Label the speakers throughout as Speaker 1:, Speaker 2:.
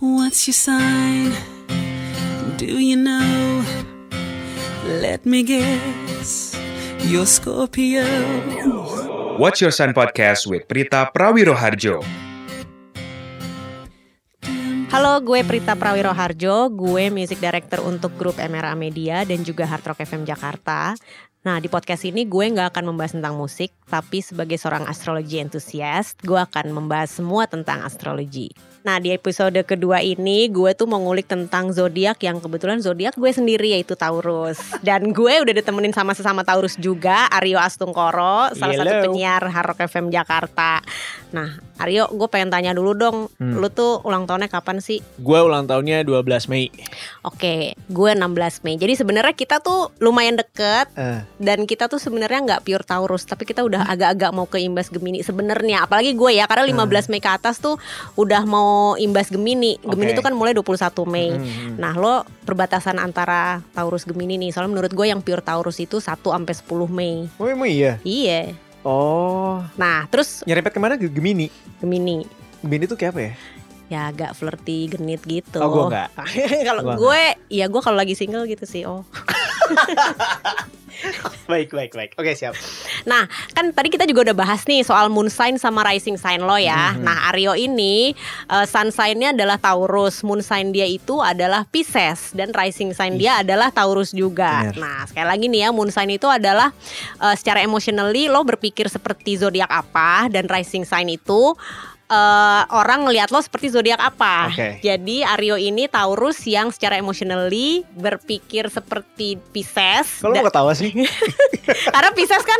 Speaker 1: what's your sign? Do you know? Let me guess. You're Scorpio.
Speaker 2: Watch Your Sun Podcast with Prita Prawiroharjo.
Speaker 3: Halo, gue Prita Prawiro Harjo, gue music director untuk grup MRA Media dan juga Hard Rock FM Jakarta. Nah, di podcast ini gue nggak akan membahas tentang musik, tapi sebagai seorang astrologi entusias, gue akan membahas semua tentang astrologi. Nah, di episode kedua ini gue tuh mau ngulik tentang zodiak yang kebetulan zodiak gue sendiri yaitu Taurus. Dan gue udah ditemenin sama sesama Taurus juga, Aryo Astungkoro, salah satu
Speaker 4: Hello.
Speaker 3: penyiar Hard Rock FM Jakarta. Nah, Aryo, gue pengen tanya dulu dong,
Speaker 4: Hmm.
Speaker 3: lu tuh ulang tahunnya kapan sih?
Speaker 4: Gue ulang tahunnya 12 Mei.
Speaker 3: Oke, gue 16 Mei. Jadi sebenarnya kita tuh lumayan deket
Speaker 4: Eh.
Speaker 3: dan kita tuh sebenarnya nggak pure Taurus, tapi kita udah agak-agak mau ke imbas Gemini sebenarnya. Apalagi gue ya, karena 15 Mei ke atas tuh udah mau imbas Gemini. Gemini
Speaker 4: Oke.
Speaker 3: tuh kan mulai 21 Mei.
Speaker 4: Hmm.
Speaker 3: Nah, lo perbatasan antara Taurus Gemini nih. Soalnya menurut gue yang pure Taurus itu 1 sampai 10 Mei.
Speaker 4: Oh emang iya?
Speaker 3: Iya.
Speaker 4: Oh,
Speaker 3: Nah, terus
Speaker 4: nyerempet kemana ke Gemini?
Speaker 3: Gemini
Speaker 4: Gemini tuh kayak apa ya?
Speaker 3: ya agak flirty, genit gitu.
Speaker 4: Oh, gue enggak.
Speaker 3: kalau
Speaker 4: Gua
Speaker 3: gue, ya gue kalau lagi single gitu sih. Oh.
Speaker 4: Baik, baik, baik. Oke, siap.
Speaker 3: kan tadi kita juga udah bahas nih soal moon sign sama rising sign lo ya.
Speaker 4: Mhm.
Speaker 3: Nah, Aryo ini eh, sun sign-nya adalah Taurus, moon sign dia itu adalah Pisces dan rising sign dia adalah Taurus juga.
Speaker 4: Bener.
Speaker 3: Nah, sekali lagi nih ya, moon sign itu adalah eh, secara emotionally lo berpikir seperti zodiak apa dan rising sign itu eh, orang ngelihat lo seperti zodiak apa.
Speaker 4: Oke.
Speaker 3: Jadi Aryo ini Taurus yang secara emotionally berpikir seperti Pisces
Speaker 4: Kalau
Speaker 3: da-
Speaker 4: mau ketawa sih.
Speaker 3: karena Pisces kan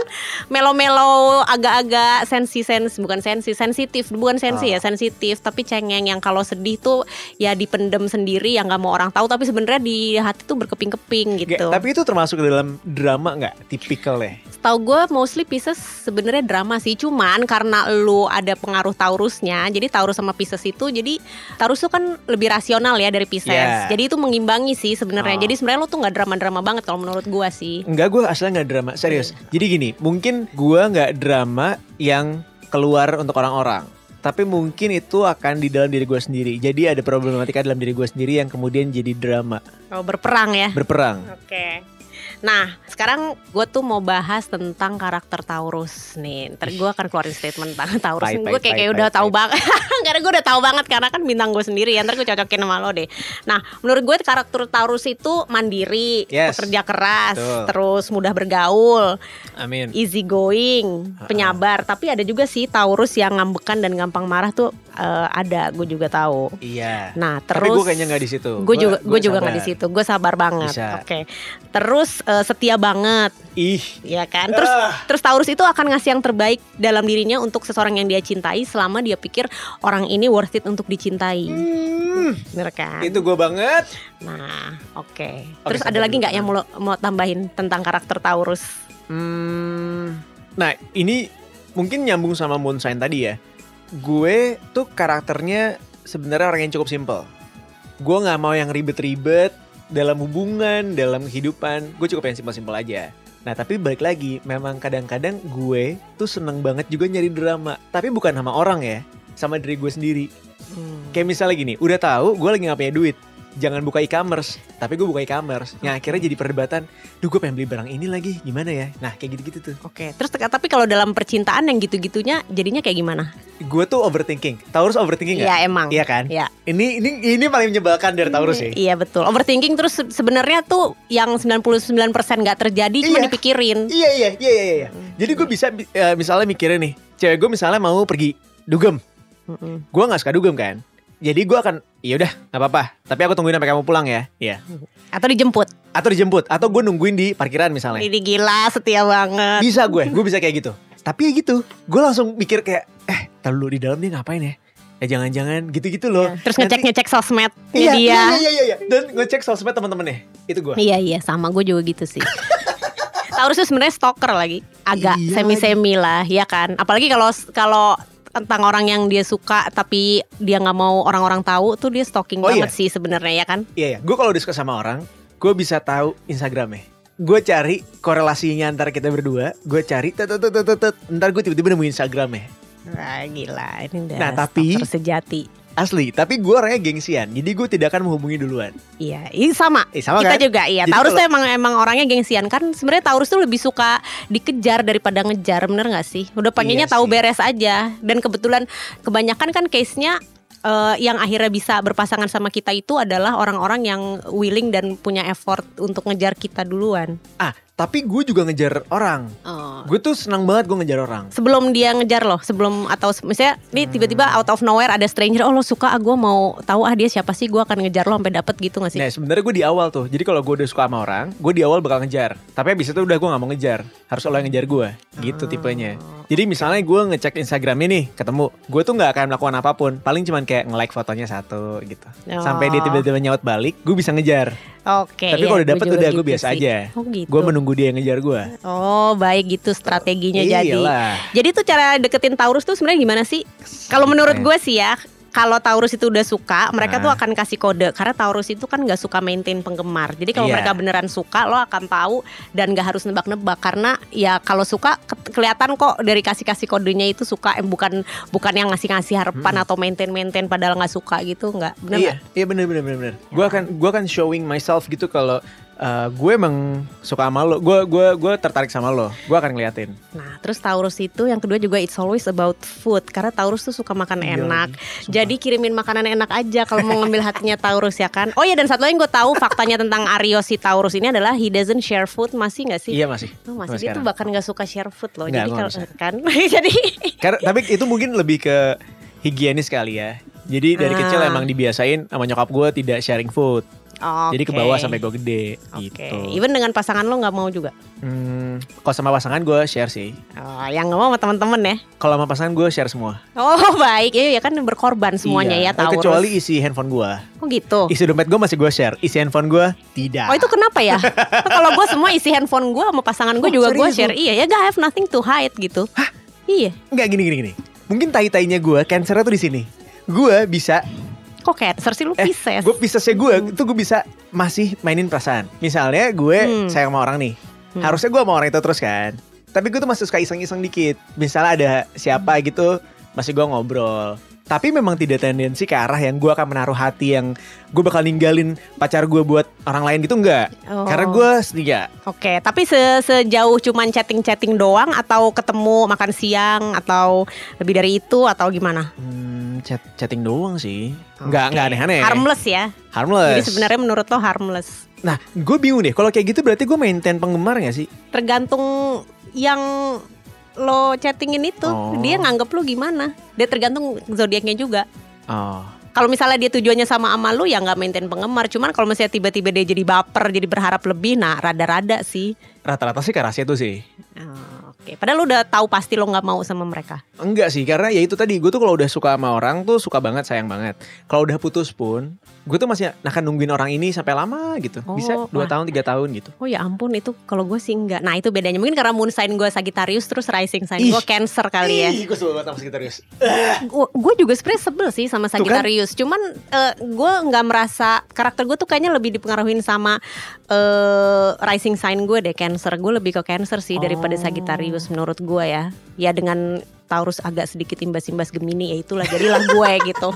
Speaker 3: melo-melo agak-agak sensi-sensi bukan sensi sensitif bukan sensi
Speaker 4: Ah.
Speaker 3: ya sensitif tapi cengeng yang kalau sedih tuh ya dipendem sendiri yang nggak mau orang tahu tapi sebenarnya di hati tuh berkeping-keping
Speaker 4: Nggak,
Speaker 3: gitu.
Speaker 4: Tapi itu termasuk ke dalam drama nggak? Tipikal ya.
Speaker 3: Tahu gue mostly Pisces sebenarnya drama sih cuman karena lu ada pengaruh Taurusnya jadi Taurus sama Pisces itu jadi Taurus tuh kan lebih rasional ya dari Pisces
Speaker 4: Yeah.
Speaker 3: jadi itu mengimbangi sih sebenarnya
Speaker 4: Oh.
Speaker 3: jadi sebenarnya lu tuh nggak drama-drama banget kalau menurut gue sih.
Speaker 4: Enggak, gue aslinya nggak drama. Serius. Jadi gini, mungkin gue nggak drama yang keluar untuk orang-orang. Tapi mungkin itu akan di dalam diri gue sendiri. Jadi ada problematika dalam diri gue sendiri yang kemudian jadi drama,
Speaker 3: Kalau berperang ya.
Speaker 4: berperang.
Speaker 3: Oke. Nah, sekarang gue tuh mau bahas tentang karakter Taurus nih. Ntar gue akan keluarin statement tentang Taurus.
Speaker 4: Pahit,
Speaker 3: Gue kayak,
Speaker 4: pahit,
Speaker 3: kayak
Speaker 4: pahit,
Speaker 3: udah
Speaker 4: pahit,
Speaker 3: tahu
Speaker 4: pahit.
Speaker 3: banget. karena gue udah tahu banget karena kan bintang gue sendiri. Ya. Ntar gue cocokin sama lo deh. Nah, menurut gue karakter Taurus itu mandiri,
Speaker 4: Yes.
Speaker 3: pekerja keras,
Speaker 4: Betul.
Speaker 3: terus mudah bergaul,
Speaker 4: Amin.
Speaker 3: easy going, penyabar. Tapi ada juga sih Taurus yang ngambekan dan gampang marah tuh eh, ada. Gue juga tahu.
Speaker 4: Iya.
Speaker 3: Nah, terus
Speaker 4: Tapi gue kayaknya nggak di situ.
Speaker 3: gue juga gue juga nggak di
Speaker 4: sabar.
Speaker 3: situ gue sabar banget
Speaker 4: Bisa.
Speaker 3: oke terus eh, setia banget
Speaker 4: Ih, Ah.
Speaker 3: ya kan terus terus Taurus itu akan ngasih yang terbaik dalam dirinya untuk seseorang yang dia cintai selama dia pikir orang ini worth it untuk dicintai
Speaker 4: Hmm,
Speaker 3: bener kan
Speaker 4: itu gue banget.
Speaker 3: nah oke
Speaker 4: Oke,
Speaker 3: terus ada
Speaker 4: sabar
Speaker 3: lagi
Speaker 4: dulu.
Speaker 3: nggak yang mau lo- mau tambahin tentang karakter Taurus
Speaker 4: Hmm, nah ini mungkin nyambung sama Moon Sign tadi ya. Gue tuh karakternya sebenarnya orang yang cukup simple. Gue nggak mau yang ribet-ribet dalam hubungan, dalam kehidupan. Gue cukup yang simple-simple aja. Nah tapi balik lagi, memang kadang-kadang gue tuh seneng banget juga nyari drama. Tapi bukan sama orang ya, sama diri gue sendiri.
Speaker 3: Hmm.
Speaker 4: Kayak misalnya gini, udah tahu gue lagi nggak punya duit, jangan buka e-commerce. Tapi gue buka e-commerce, yang akhirnya jadi perdebatan. Duh gue pengen beli barang ini lagi, gimana ya? Nah kayak gitu-gitu tuh.
Speaker 3: Oke, terus teka- tapi kalau dalam percintaan yang gitu-gitunya jadinya kayak gimana?
Speaker 4: Gue tuh overthinking. Taurus overthinking nggak?
Speaker 3: Iya emang.
Speaker 4: Iya kan?
Speaker 3: Iya.
Speaker 4: Ini ini ini paling menyebalkan dari Taurus sih.
Speaker 3: Iya betul. Overthinking terus se- sebenarnya tuh yang 99% nggak terjadi cuma
Speaker 4: Iya.
Speaker 3: dipikirin.
Speaker 4: Iya iya iya iya. iya. Jadi gue bisa bi- eh, misalnya mikirin nih, cewek gue misalnya mau pergi dugem.
Speaker 3: Mm-mm.
Speaker 4: Gue nggak suka dugem kan? Jadi gue akan, iya udah nggak apa-apa. Tapi aku tungguin sampai kamu pulang ya. Iya.
Speaker 3: Atau dijemput.
Speaker 4: Atau dijemput, atau gue nungguin di parkiran misalnya.
Speaker 3: Ini gila setia banget.
Speaker 4: bisa gue gue bisa kayak gitu tapi ya gitu gue langsung mikir kayak eh tar dulu di dalam dia ngapain ya ya jangan-jangan gitu-gitu loh
Speaker 3: Terus
Speaker 4: Iya. Nanti-
Speaker 3: ngecek-ngecek sosmed
Speaker 4: iya,
Speaker 3: dia.
Speaker 4: iya iya iya iya dan ngecek sosmed teman-temannya itu gue
Speaker 3: Iya iya sama gue juga gitu sih. Taurus tuh sebenarnya stalker lagi, agak
Speaker 4: Iya
Speaker 3: semi-semi lah, ya kan. Apalagi kalau kalau tentang orang yang dia suka tapi dia nggak mau orang-orang tahu tuh dia stalking
Speaker 4: Oh,
Speaker 3: banget
Speaker 4: iya.
Speaker 3: sih sebenarnya ya kan.
Speaker 4: iya iya gue kalau disuka sama orang gue bisa tahu instagramnya gue cari korelasinya antara kita berdua gue cari tet tet tet tet, tet. ntar gue tiba-tiba nemu instagramnya
Speaker 3: Wah, gila ini udah
Speaker 4: Nah, tapi-
Speaker 3: stalker sejati.
Speaker 4: asli. Tapi gue orangnya gengsian, jadi gue tidak akan menghubungi duluan.
Speaker 3: Iya, ini sama.
Speaker 4: Eh sama
Speaker 3: kita
Speaker 4: kan?
Speaker 3: juga iya.
Speaker 4: Jadi
Speaker 3: Taurus
Speaker 4: kalau-
Speaker 3: tuh emang emang orangnya gengsian kan. Sebenarnya Taurus tuh lebih suka dikejar daripada ngejar, bener nggak sih? Udah pengennya
Speaker 4: Iya
Speaker 3: tahu
Speaker 4: sih.
Speaker 3: beres aja. Dan kebetulan kebanyakan kan case-nya eh, yang akhirnya bisa berpasangan sama kita itu adalah orang-orang yang willing dan punya effort untuk ngejar kita duluan.
Speaker 4: Ah, tapi gue juga ngejar orang. Gue tuh senang banget gue ngejar orang.
Speaker 3: Sebelum dia ngejar loh, sebelum atau se- misalnya ini
Speaker 4: Hmm.
Speaker 3: tiba-tiba out of nowhere ada stranger, oh lo suka ah gue mau tahu ah dia siapa sih, gue akan ngejar lo sampai dapet gitu nggak sih?
Speaker 4: Nah sebenarnya gue di awal tuh, jadi kalau gue udah suka sama orang, gue di awal bakal ngejar. Tapi abis itu udah gue nggak mau ngejar, harus lo yang ngejar gue, gitu tipenya. Jadi misalnya gue ngecek Instagramnya nih, ketemu, gue tuh nggak akan melakukan apapun, paling cuman kayak nge-like fotonya satu gitu.
Speaker 3: Oh.
Speaker 4: Sampai dia tiba-tiba nyaut balik, gue bisa ngejar.
Speaker 3: Oke.
Speaker 4: Tapi
Speaker 3: iya,
Speaker 4: kalau
Speaker 3: gua
Speaker 4: dapet
Speaker 3: juga
Speaker 4: udah gue
Speaker 3: gitu
Speaker 4: biasa
Speaker 3: sih.
Speaker 4: aja.
Speaker 3: Oh gitu.
Speaker 4: Gue menunggu dia yang ngejar gue.
Speaker 3: Oh baik gitu strateginya jadi.
Speaker 4: Iyalah.
Speaker 3: Jadi tuh cara deketin Taurus tuh sebenarnya gimana sih? Kalau menurut gue sih ya, kalau Taurus itu udah suka, mereka
Speaker 4: Ah.
Speaker 3: tuh akan kasih kode. Karena Taurus itu kan nggak suka maintain penggemar. Jadi kalau
Speaker 4: Iya.
Speaker 3: mereka beneran suka, lo akan tahu dan nggak harus nebak-nebak. Karena ya kalau suka ke- kelihatan kok dari kasih-kasih kodenya itu suka, eh, bukan bukan yang ngasih-ngasih harapan atau maintain-maintain padahal nggak suka gitu, nggak bener
Speaker 4: iya,
Speaker 3: nggak?
Speaker 4: iya bener bener bener bener. Gue akan gue akan showing myself gitu kalau eh, gue emang suka sama lo, gue gua gue tertarik sama lo, gue akan ngeliatin.
Speaker 3: Nah, terus Taurus itu yang kedua juga it's always about food karena Taurus tuh suka makan
Speaker 4: Iya
Speaker 3: enak.
Speaker 4: lagi, sumpah.
Speaker 3: Jadi kirimin makanan enak aja kalau mau ngambil hatinya Taurus ya kan. Oh iya dan satu lagi yang gue tahu faktanya tentang Ario si Taurus ini adalah he doesn't share food masih nggak sih?
Speaker 4: Iya masih.
Speaker 3: Oh, masih
Speaker 4: Sampai
Speaker 3: dia tuh
Speaker 4: sekarang.
Speaker 3: bahkan nggak suka share food loh.
Speaker 4: Nggak,
Speaker 3: jadi
Speaker 4: gua
Speaker 3: kalau
Speaker 4: nggak
Speaker 3: kan jadi
Speaker 4: Karena tapi itu mungkin lebih ke higienis kali ya. Jadi dari
Speaker 3: Ah.
Speaker 4: kecil emang dibiasain sama nyokap gue tidak sharing food. Jadi ke
Speaker 3: Oke.
Speaker 4: bawah sampai gue gede
Speaker 3: Oke.
Speaker 4: gitu.
Speaker 3: Even dengan pasangan lo nggak mau juga.
Speaker 4: Hmm, kalau sama pasangan gue share sih.
Speaker 3: Oh, yang nggak mau sama teman-teman ya.
Speaker 4: Kalau sama pasangan gue share semua.
Speaker 3: Oh baik, iya ya kan berkorban semuanya
Speaker 4: Iya.
Speaker 3: ya Taurus.
Speaker 4: Kecuali isi handphone gue.
Speaker 3: Oh gitu.
Speaker 4: Isi dompet gue masih gue share. Isi handphone gue tidak.
Speaker 3: Oh itu kenapa ya? Kalau gue semua isi handphone gue sama pasangan gue
Speaker 4: Oh,
Speaker 3: juga gue share.
Speaker 4: serius lu?
Speaker 3: Iya ya gak have nothing to hide gitu. Iya.
Speaker 4: Enggak gini gini gini. Mungkin tai-tainya gue cancernya tuh di sini. Gue bisa
Speaker 3: Kok cancer sih lu
Speaker 4: eh
Speaker 3: Pisces?
Speaker 4: gue Piscesnya gue itu gue bisa masih mainin perasaan. Misalnya gue
Speaker 3: Hmm.
Speaker 4: sayang sama orang nih.
Speaker 3: Hmm.
Speaker 4: Harusnya gue sama orang itu terus kan. Tapi gue tuh masih suka iseng-iseng dikit. Misalnya ada siapa
Speaker 3: Hmm.
Speaker 4: gitu masih gue ngobrol. Tapi memang tidak tendensi ke arah yang gue akan menaruh hati yang gue bakal ninggalin pacar gue buat orang lain gitu enggak.
Speaker 3: Oh.
Speaker 4: Karena gue setia.
Speaker 3: Oke, tapi se- sejauh cuman chatting-chatting doang atau ketemu makan siang atau lebih dari itu atau gimana?
Speaker 4: Hmm, chat chatting doang sih. Enggak enggak aneh-aneh.
Speaker 3: Harmless ya.
Speaker 4: Eh. Harmless.
Speaker 3: Jadi sebenarnya menurut lo harmless.
Speaker 4: Nah, gue bingung deh. Kalau kayak gitu berarti gue maintain penggemar gak sih?
Speaker 3: Tergantung yang lo chattingin itu,
Speaker 4: Oh.
Speaker 3: dia nganggep lo gimana. Dia tergantung zodiaknya juga.
Speaker 4: Oh.
Speaker 3: Kalau misalnya dia tujuannya sama sama lu ya nggak maintain penggemar. Cuman kalau misalnya tiba-tiba dia jadi baper, jadi berharap lebih, nah rada-rada sih.
Speaker 4: Rata-rata sih ke rahasia itu sih.
Speaker 3: Oh, Oke, padahal lu udah tahu pasti lo nggak mau sama mereka.
Speaker 4: Enggak sih, karena ya itu tadi. Gue tuh kalau udah suka sama orang tuh suka banget, sayang banget. Kalau udah putus pun, gue tuh masih akan nungguin orang ini sampai lama gitu. Bisa
Speaker 3: Oh,
Speaker 4: dua
Speaker 3: wah.
Speaker 4: tahun, tiga tahun gitu.
Speaker 3: Oh ya ampun itu kalau gue sih enggak. Nah itu bedanya mungkin karena moon sign gue Sagittarius terus rising sign
Speaker 4: Ih.
Speaker 3: gue Cancer kali ya.
Speaker 4: Ih, gue suka banget sama Sagittarius.
Speaker 3: Gue juga sebenarnya sebel sih sama
Speaker 4: Tuh kan.
Speaker 3: Sagittarius. Cuman gue nggak merasa karakter gue tuh kayaknya lebih dipengaruhin sama eh, rising sign gue deh Cancer. Gue lebih ke Cancer sih daripada
Speaker 4: Oh.
Speaker 3: Sagittarius menurut gue ya. Ya dengan Taurus agak sedikit imbas-imbas Gemini ya itulah jadilah gue gitu.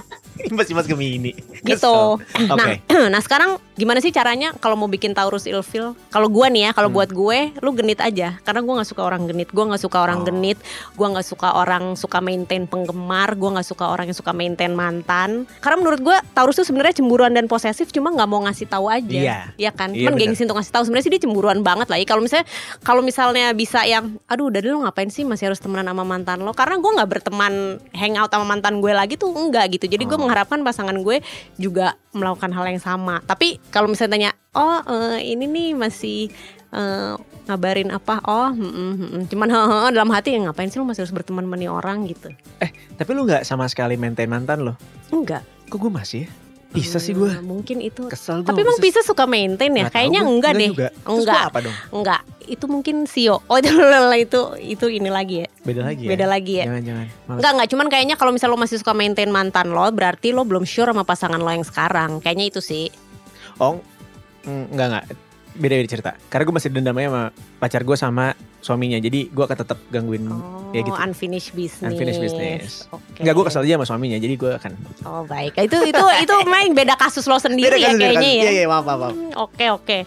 Speaker 4: Masih mas Gemini.
Speaker 3: Gitu.
Speaker 4: Kesel. Oke.
Speaker 3: Nah, nah sekarang gimana sih caranya kalau mau bikin Taurus ilfil? Kalau gue nih ya, kalau
Speaker 4: Hmm.
Speaker 3: buat gue, lu genit aja. Karena gue nggak suka orang genit. Gue nggak suka orang
Speaker 4: Oh.
Speaker 3: genit. Gue nggak suka orang suka maintain penggemar. Gue nggak suka orang yang suka maintain mantan. Karena menurut gue Taurus tuh sebenarnya cemburuan dan posesif, cuma nggak mau ngasih tahu aja.
Speaker 4: Iya.
Speaker 3: kan?
Speaker 4: Iya,
Speaker 3: Cuman
Speaker 4: bener.
Speaker 3: gengsi untuk ngasih tahu. Sebenarnya sih dia cemburuan banget lah. Ya. Kalau misalnya kalau misalnya bisa yang, aduh udah deh lu ngapain sih masih harus temenan sama mantan lo? Karena gue nggak berteman hangout sama mantan gue lagi tuh enggak gitu. Jadi gue
Speaker 4: Oh.
Speaker 3: mengharapkan pasangan gue juga melakukan hal yang sama. Tapi kalau misalnya tanya, oh eh, ini nih masih eh, ngabarin apa? Oh, mm, mm, mm, mm." cuman hehehe dalam hati ya ngapain sih lu masih harus berteman meni orang gitu?
Speaker 4: Tapi lu gak sama sekali maintain mantan lo?
Speaker 3: Enggak.
Speaker 4: Kok gue masih ya? Bisa sih gue.
Speaker 3: Hmm, Mungkin itu.
Speaker 4: Kesel gue.
Speaker 3: Tapi emang bisa suka maintain ya? Kayaknya enggak, deh.
Speaker 4: Juga. Terus
Speaker 3: Enggak.
Speaker 4: Nah, gua apa dong?
Speaker 3: Enggak. Itu mungkin sio. Oh, itu itu itu ini lagi ya.
Speaker 4: Beda lagi ya?
Speaker 3: Beda lagi ya.
Speaker 4: Jangan-jangan. Males.
Speaker 3: Enggak, enggak. Cuman kayaknya kalau misalnya lo masih suka maintain mantan lo, berarti lo belum sure sama pasangan lo yang sekarang. Kayaknya itu sih.
Speaker 4: Ong, mm, enggak enggak. Beda beda cerita. Karena gue masih dendamnya sama pacar gue sama suaminya. Jadi gue akan tetap gangguin.
Speaker 3: Oh,
Speaker 4: Ya gitu.
Speaker 3: unfinished business.
Speaker 4: Unfinished business.
Speaker 3: Oke.
Speaker 4: Enggak gue kesel aja sama suaminya. Jadi gue akan.
Speaker 3: Oh baik, itu itu itu main beda kasus lo sendiri ya
Speaker 4: Beda kasus, beda
Speaker 3: kayaknya
Speaker 4: kasus.
Speaker 3: ya.
Speaker 4: Iya, iya, maaf, maaf, maaf.
Speaker 3: Hmm, Oke oke.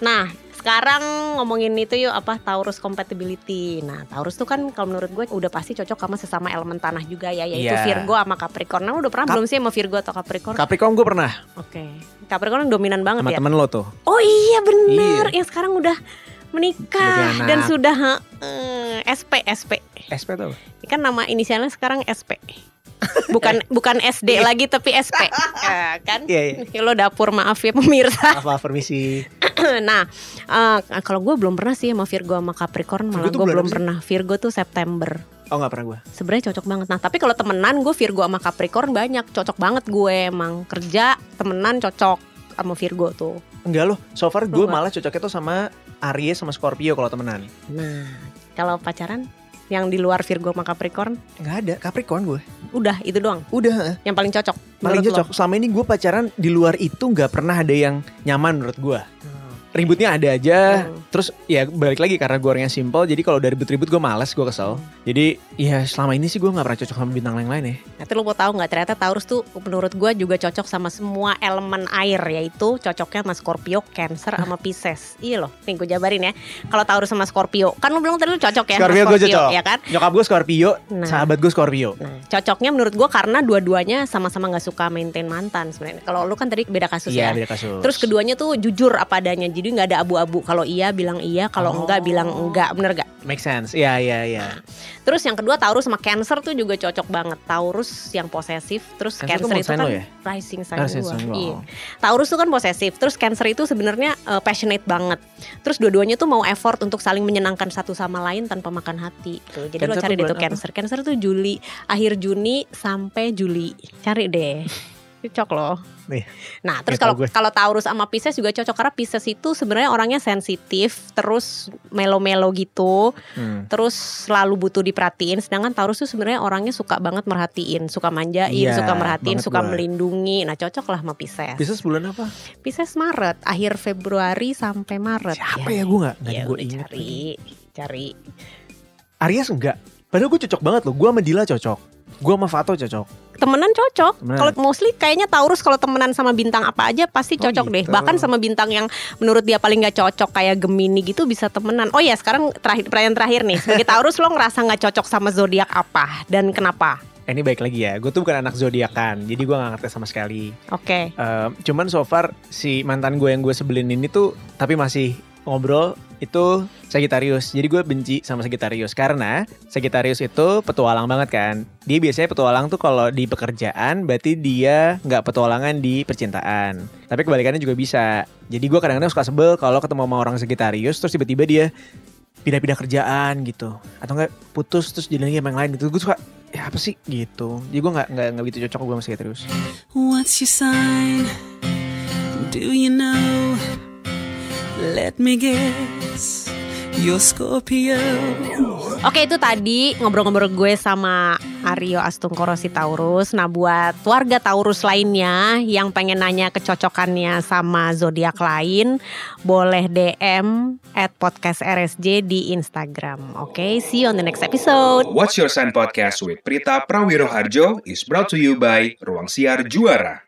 Speaker 3: Nah sekarang ngomongin itu yuk apa Taurus compatibility. Nah Taurus tuh kan kalau menurut gue udah pasti cocok sama sesama elemen tanah juga ya, yaitu
Speaker 4: Iya.
Speaker 3: Virgo sama Capricorn. Nah lu udah pernah
Speaker 4: Cap-
Speaker 3: belum sih sama Virgo atau Capricorn?
Speaker 4: Capricorn gue pernah
Speaker 3: oke, Capricorn dominan banget ya.
Speaker 4: sama temen lo tuh.
Speaker 3: Oh iya benar, yang sekarang udah menikah
Speaker 4: Udah punya
Speaker 3: dan
Speaker 4: anak.
Speaker 3: sudah eh, SP SP.
Speaker 4: SP tuh.
Speaker 3: Ini kan nama inisialnya sekarang SP. Bukan bukan SD lagi tapi SP. Ya, kan?
Speaker 4: Iya iya.
Speaker 3: Ya, Lo dapur maaf ya pemirsa.
Speaker 4: Maaf, maaf permisi.
Speaker 3: nah, eh, kalau gue belum pernah sih sama Virgo sama Capricorn, malah
Speaker 4: Virgo tuh
Speaker 3: gue
Speaker 4: bulan
Speaker 3: belum
Speaker 4: apa sih?
Speaker 3: pernah. Virgo tuh September.
Speaker 4: Oh nggak pernah gue.
Speaker 3: Sebenarnya cocok banget. Nah, tapi kalau temenan gue Virgo sama Capricorn banyak, cocok banget gue emang kerja temenan cocok sama Virgo tuh.
Speaker 4: Enggak loh. So far gue
Speaker 3: Enggak.
Speaker 4: malah cocoknya tuh sama Aries sama Scorpio kalau temenan.
Speaker 3: Nah, kalau pacaran yang di luar Virgo sama Capricorn,
Speaker 4: Enggak ada. Capricorn gue.
Speaker 3: udah itu doang
Speaker 4: Udah.
Speaker 3: yang paling cocok.
Speaker 4: Paling
Speaker 3: menurut lo.
Speaker 4: cocok. Selama ini gue pacaran di luar itu nggak pernah ada yang nyaman menurut gue. Ributnya ada aja.
Speaker 3: Hmm.
Speaker 4: Terus ya balik lagi karena gue orangnya simple. Jadi kalau dari ribut-ribut gue males, gue kesel. Jadi ya selama ini sih gue nggak pernah cocok sama bintang yang lain ya.
Speaker 3: Nanti lu mau tahu nggak ternyata Taurus tuh menurut gue juga cocok sama semua elemen air yaitu cocoknya sama Scorpio, Cancer, sama Pisces. Iya loh, nih gue jabarin ya. Kalau Taurus sama Scorpio, kan lu bilang tadi lu cocok ya sama
Speaker 4: Scorpio gue cocok.
Speaker 3: ya kan?
Speaker 4: Nyokap gue Scorpio,
Speaker 3: Nah.
Speaker 4: sahabat gue Scorpio. Iya,
Speaker 3: Nah, cocoknya menurut gue karena dua-duanya sama-sama nggak suka maintain mantan sebenarnya. Kalau lu kan tadi beda kasus
Speaker 4: Iya
Speaker 3: ya.
Speaker 4: beda kasus.
Speaker 3: Terus keduanya tuh jujur apa adanya, jadi nggak ada abu-abu. Kalau iya bilang iya, kalau
Speaker 4: Oh.
Speaker 3: enggak bilang enggak, bener gak?
Speaker 4: Make sense. Iya iya iya.
Speaker 3: Terus yang kedua Taurus sama Cancer tuh juga cocok banget. Taurus yang posesif, terus
Speaker 4: Cancer
Speaker 3: Cancer,
Speaker 4: tuh
Speaker 3: itu
Speaker 4: moon sign
Speaker 3: kan
Speaker 4: lo ya?
Speaker 3: rising sign
Speaker 4: Harus
Speaker 3: gua.
Speaker 4: sense, wow.
Speaker 3: Iya. Taurus tuh kan posesif, terus Cancer itu sebenarnya eh, passionate banget. Terus dua-duanya tuh mau effort untuk saling menyenangkan satu sama lain tanpa makan hati. Tuh, jadi lo
Speaker 4: Cancer
Speaker 3: cari
Speaker 4: tuh
Speaker 3: deh
Speaker 4: bulan
Speaker 3: tuh
Speaker 4: apa?
Speaker 3: Cancer. Cancer tuh Juli, akhir Juni sampai Juli. Cari deh. Cocok loh.
Speaker 4: Nih.
Speaker 3: Nah, terus
Speaker 4: Nggak tahu
Speaker 3: kalau
Speaker 4: Iya, gue.
Speaker 3: kalau Taurus sama Pisces juga cocok karena Pisces itu sebenarnya orangnya sensitif, terus melo-melo gitu
Speaker 4: Hmm.
Speaker 3: terus selalu butuh diperhatiin sedangkan Taurus tuh sebenarnya orangnya suka banget merhatiin suka manjain
Speaker 4: Iya,
Speaker 3: suka merhatiin
Speaker 4: banget
Speaker 3: suka
Speaker 4: gua.
Speaker 3: melindungi nah cocok lah sama Pisces
Speaker 4: Bisnis bulan apa?
Speaker 3: Pisces Maret akhir Februari sampai Maret
Speaker 4: Siapa ya gue nggak? Nggak
Speaker 3: ya
Speaker 4: gue
Speaker 3: udah
Speaker 4: ingat.
Speaker 3: cari cari
Speaker 4: Aries enggak. Padahal gue cocok banget loh. Gue sama Dila cocok. Gue sama Fato cocok.
Speaker 3: temenan cocok
Speaker 4: Temenan.
Speaker 3: kalau mostly kayaknya Taurus kalau temenan sama bintang apa aja pasti
Speaker 4: Oh,
Speaker 3: cocok deh
Speaker 4: gitu.
Speaker 3: bahkan sama bintang yang menurut dia paling nggak cocok kayak Gemini gitu bisa temenan oh ya sekarang terakhir pertanyaan terakhir nih sebagai Taurus lo ngerasa nggak cocok sama zodiak apa dan kenapa
Speaker 4: Eh, ini baik lagi ya. Gue tuh bukan anak zodiakan. Jadi gue nggak ngerti sama sekali.
Speaker 3: oke
Speaker 4: Ehm, cuman so far si mantan gue yang gue sebelin ini tuh tapi masih ngobrol itu Sagittarius. Jadi gue benci sama Sagittarius karena Sagittarius itu petualang banget kan. Dia biasanya petualang tuh kalau di pekerjaan berarti dia nggak petualangan di percintaan. Tapi kebalikannya juga bisa. Jadi gue kadang-kadang suka sebel kalau ketemu sama orang Sagittarius terus tiba-tiba dia pindah-pindah kerjaan gitu atau enggak putus terus jadi lagi sama yang lain gitu gue suka ya apa sih gitu jadi gue nggak nggak nggak begitu cocok gue sama Sagittarius
Speaker 1: What's your sign? Do you know? Let me guess. You're Scorpio.
Speaker 3: Oke itu tadi ngobrol-ngobrol gue sama Aryo Astungkoro si Taurus. Nah buat warga Taurus lainnya yang pengen nanya kecocokannya sama zodiak lain, boleh DM at podcast RSJ di Instagram. Oke, see you on the next episode.
Speaker 2: What's Your Sign Podcast with Prita Prawiroharjo is brought to you by Ruang Siar Juara.